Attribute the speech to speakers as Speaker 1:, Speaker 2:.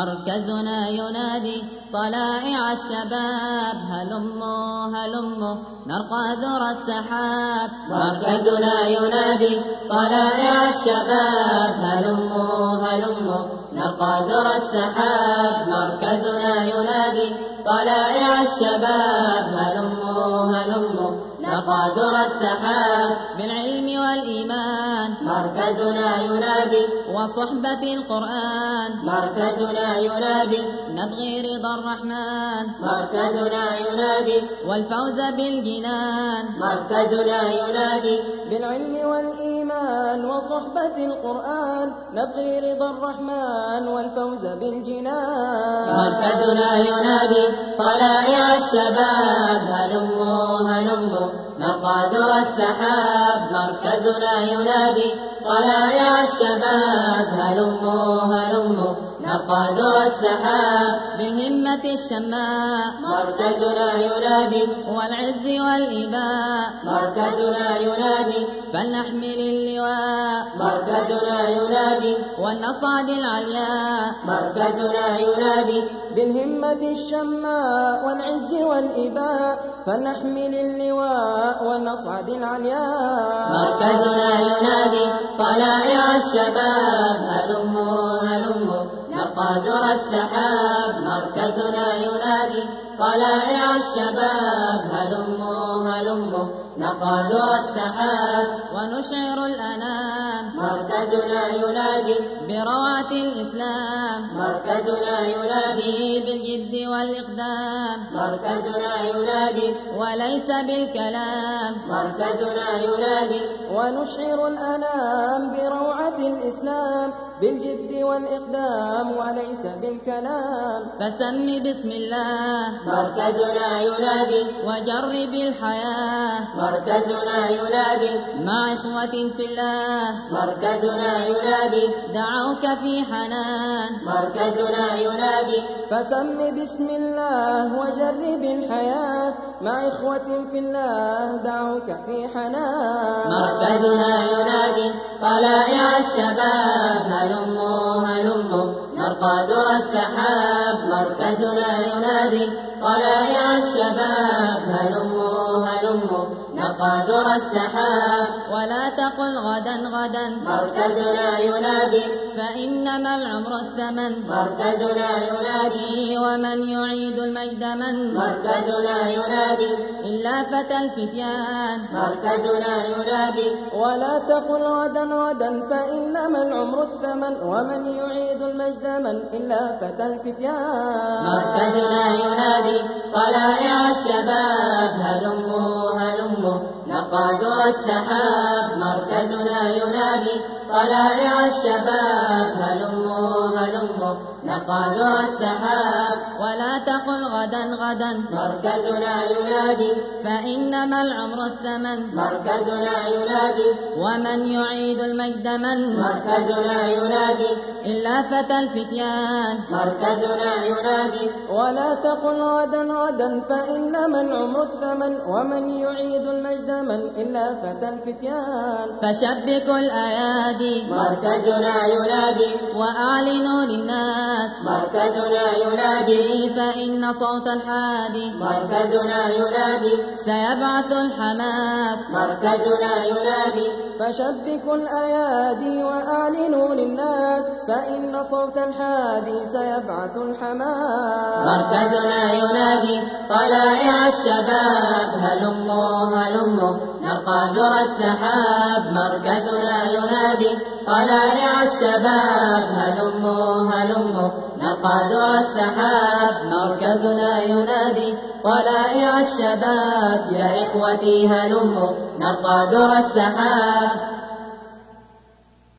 Speaker 1: مركزنا ينادي طلائع الشباب هلموا هلموا نرقى ذرى السحاب
Speaker 2: مركزنا ينادي طلائع الشباب هلموا هلموا نرقى ذرى السحاب مركزنا ينادي طلائع الشباب هلموا هلموا نرقى ذرى السحاب
Speaker 1: بالعلم والإيمان
Speaker 2: مركزنا ينادي
Speaker 1: وصحبة القرآن
Speaker 2: مركزنا ينادي
Speaker 1: نبغي رضا الرحمن
Speaker 2: مركزنا ينادي
Speaker 1: والفوز بالجنان
Speaker 2: مركزنا ينادي
Speaker 3: بالعلم والإيمان وصحبة القرآن نبغي رضا الرحمن والفوز بالجنان
Speaker 2: مركزنا ينادي طلائع الشباب هلموا هلموا نقادر السحاب مركزنا ينادي طلائع الشباب هلموا هلموا نقادر السحاب
Speaker 1: بالهمة الشماء
Speaker 2: مركزنا ينادي
Speaker 1: والعز والإباء
Speaker 2: مركزنا ينادي
Speaker 1: فلنحمل اللواء
Speaker 2: مركزنا ينادي
Speaker 1: ولنصعد العلياء
Speaker 2: مركزنا ينادي
Speaker 3: بالهمة الشماء والعز والإباء فلنحمل اللواء ونصعد العلياء
Speaker 2: مركزنا ينادي طلائع الشباب هلموا هلموا نبقى درى السحاب مركزنا ينادي طلائع الشباب هلموا هلموا نبقى درى السحاب
Speaker 1: ونشعر الأنام
Speaker 2: مركزنا ينادي
Speaker 1: بروعة الإسلام
Speaker 2: مركزنا ينادي
Speaker 1: به بالجد والإقدام
Speaker 2: مركزنا ينادي
Speaker 1: وليس بالكلام
Speaker 2: مركزنا ينادي
Speaker 3: ونشعر الأنام بروعة الإسلام بالجد والإقدام وليس بالكلام
Speaker 1: فسم بسم الله
Speaker 2: مركزنا ينادي
Speaker 1: وجرب الحياة
Speaker 2: مركزنا ينادي
Speaker 1: مع إخوة في الله
Speaker 2: مركزنا ينادي
Speaker 1: دعوك في حنان
Speaker 2: مركزنا ينادي
Speaker 3: فسم بسم الله وجرب الحياة مع إخوة في الله دعوك في حنان
Speaker 2: مركزنا ينادي طلائع الشباب هلموا هلموا نرقى درى السحاب مركزنا ينادي طلائع الشباب هلموا هلموا نرقى درى السحاب
Speaker 1: ولا تقل غدا غدا
Speaker 2: مركزنا ينادي
Speaker 1: فإنما العمر الثمن
Speaker 2: مركزنا ينادي
Speaker 1: ومن يعيد المجد من
Speaker 2: مركزنا ينادي
Speaker 1: إلا فتى الفتيان
Speaker 2: مركزنا ينادي
Speaker 3: ولا تقل غدا غدا فإنما العمر الثمن ومن يعيد المجد من إلا فتى الفتيان
Speaker 2: مركزنا ينادي طلائع الشباب هلموا هلموا نبقى درى السحاب مركزنا ينادي طلائع الشباب هلموا هلموا نبقى درى السحاب
Speaker 1: ولا تقل غدا غدا
Speaker 2: مركزنا ينادي
Speaker 1: فإنما العمر الثمن
Speaker 2: مركزنا ينادي
Speaker 1: ومن يعيد المجد من
Speaker 2: مركزنا ينادي
Speaker 1: إلا فتى الفتيان
Speaker 2: مركزنا ينادي
Speaker 3: ولا تقل غدا غدا فإنما العمر الثمن ومن يعيد المجد من إلا فتى الفتيان
Speaker 1: فشبكوا الأيادي
Speaker 2: مركزنا ينادي
Speaker 1: وأعلنوا للناس
Speaker 2: مركزنا ينادي
Speaker 1: فإن صوت الحادي
Speaker 2: مركزنا ينادي
Speaker 1: سيبعث الحماس
Speaker 2: مركزنا ينادي
Speaker 3: فشبكوا الأيادي وأعلنوا للناس فإن صوت الحادي سيبعث الحمام
Speaker 2: مركزنا ينادي طلائع الشباب هلموا هلموا نرقى درى السحاب مركزنا ينادي طلائع الشباب هلموا هلموا نرقى درى السحاب مركزنا ينادي طلائع الشباب يا إخوتي هلموا نرقى درى السحاب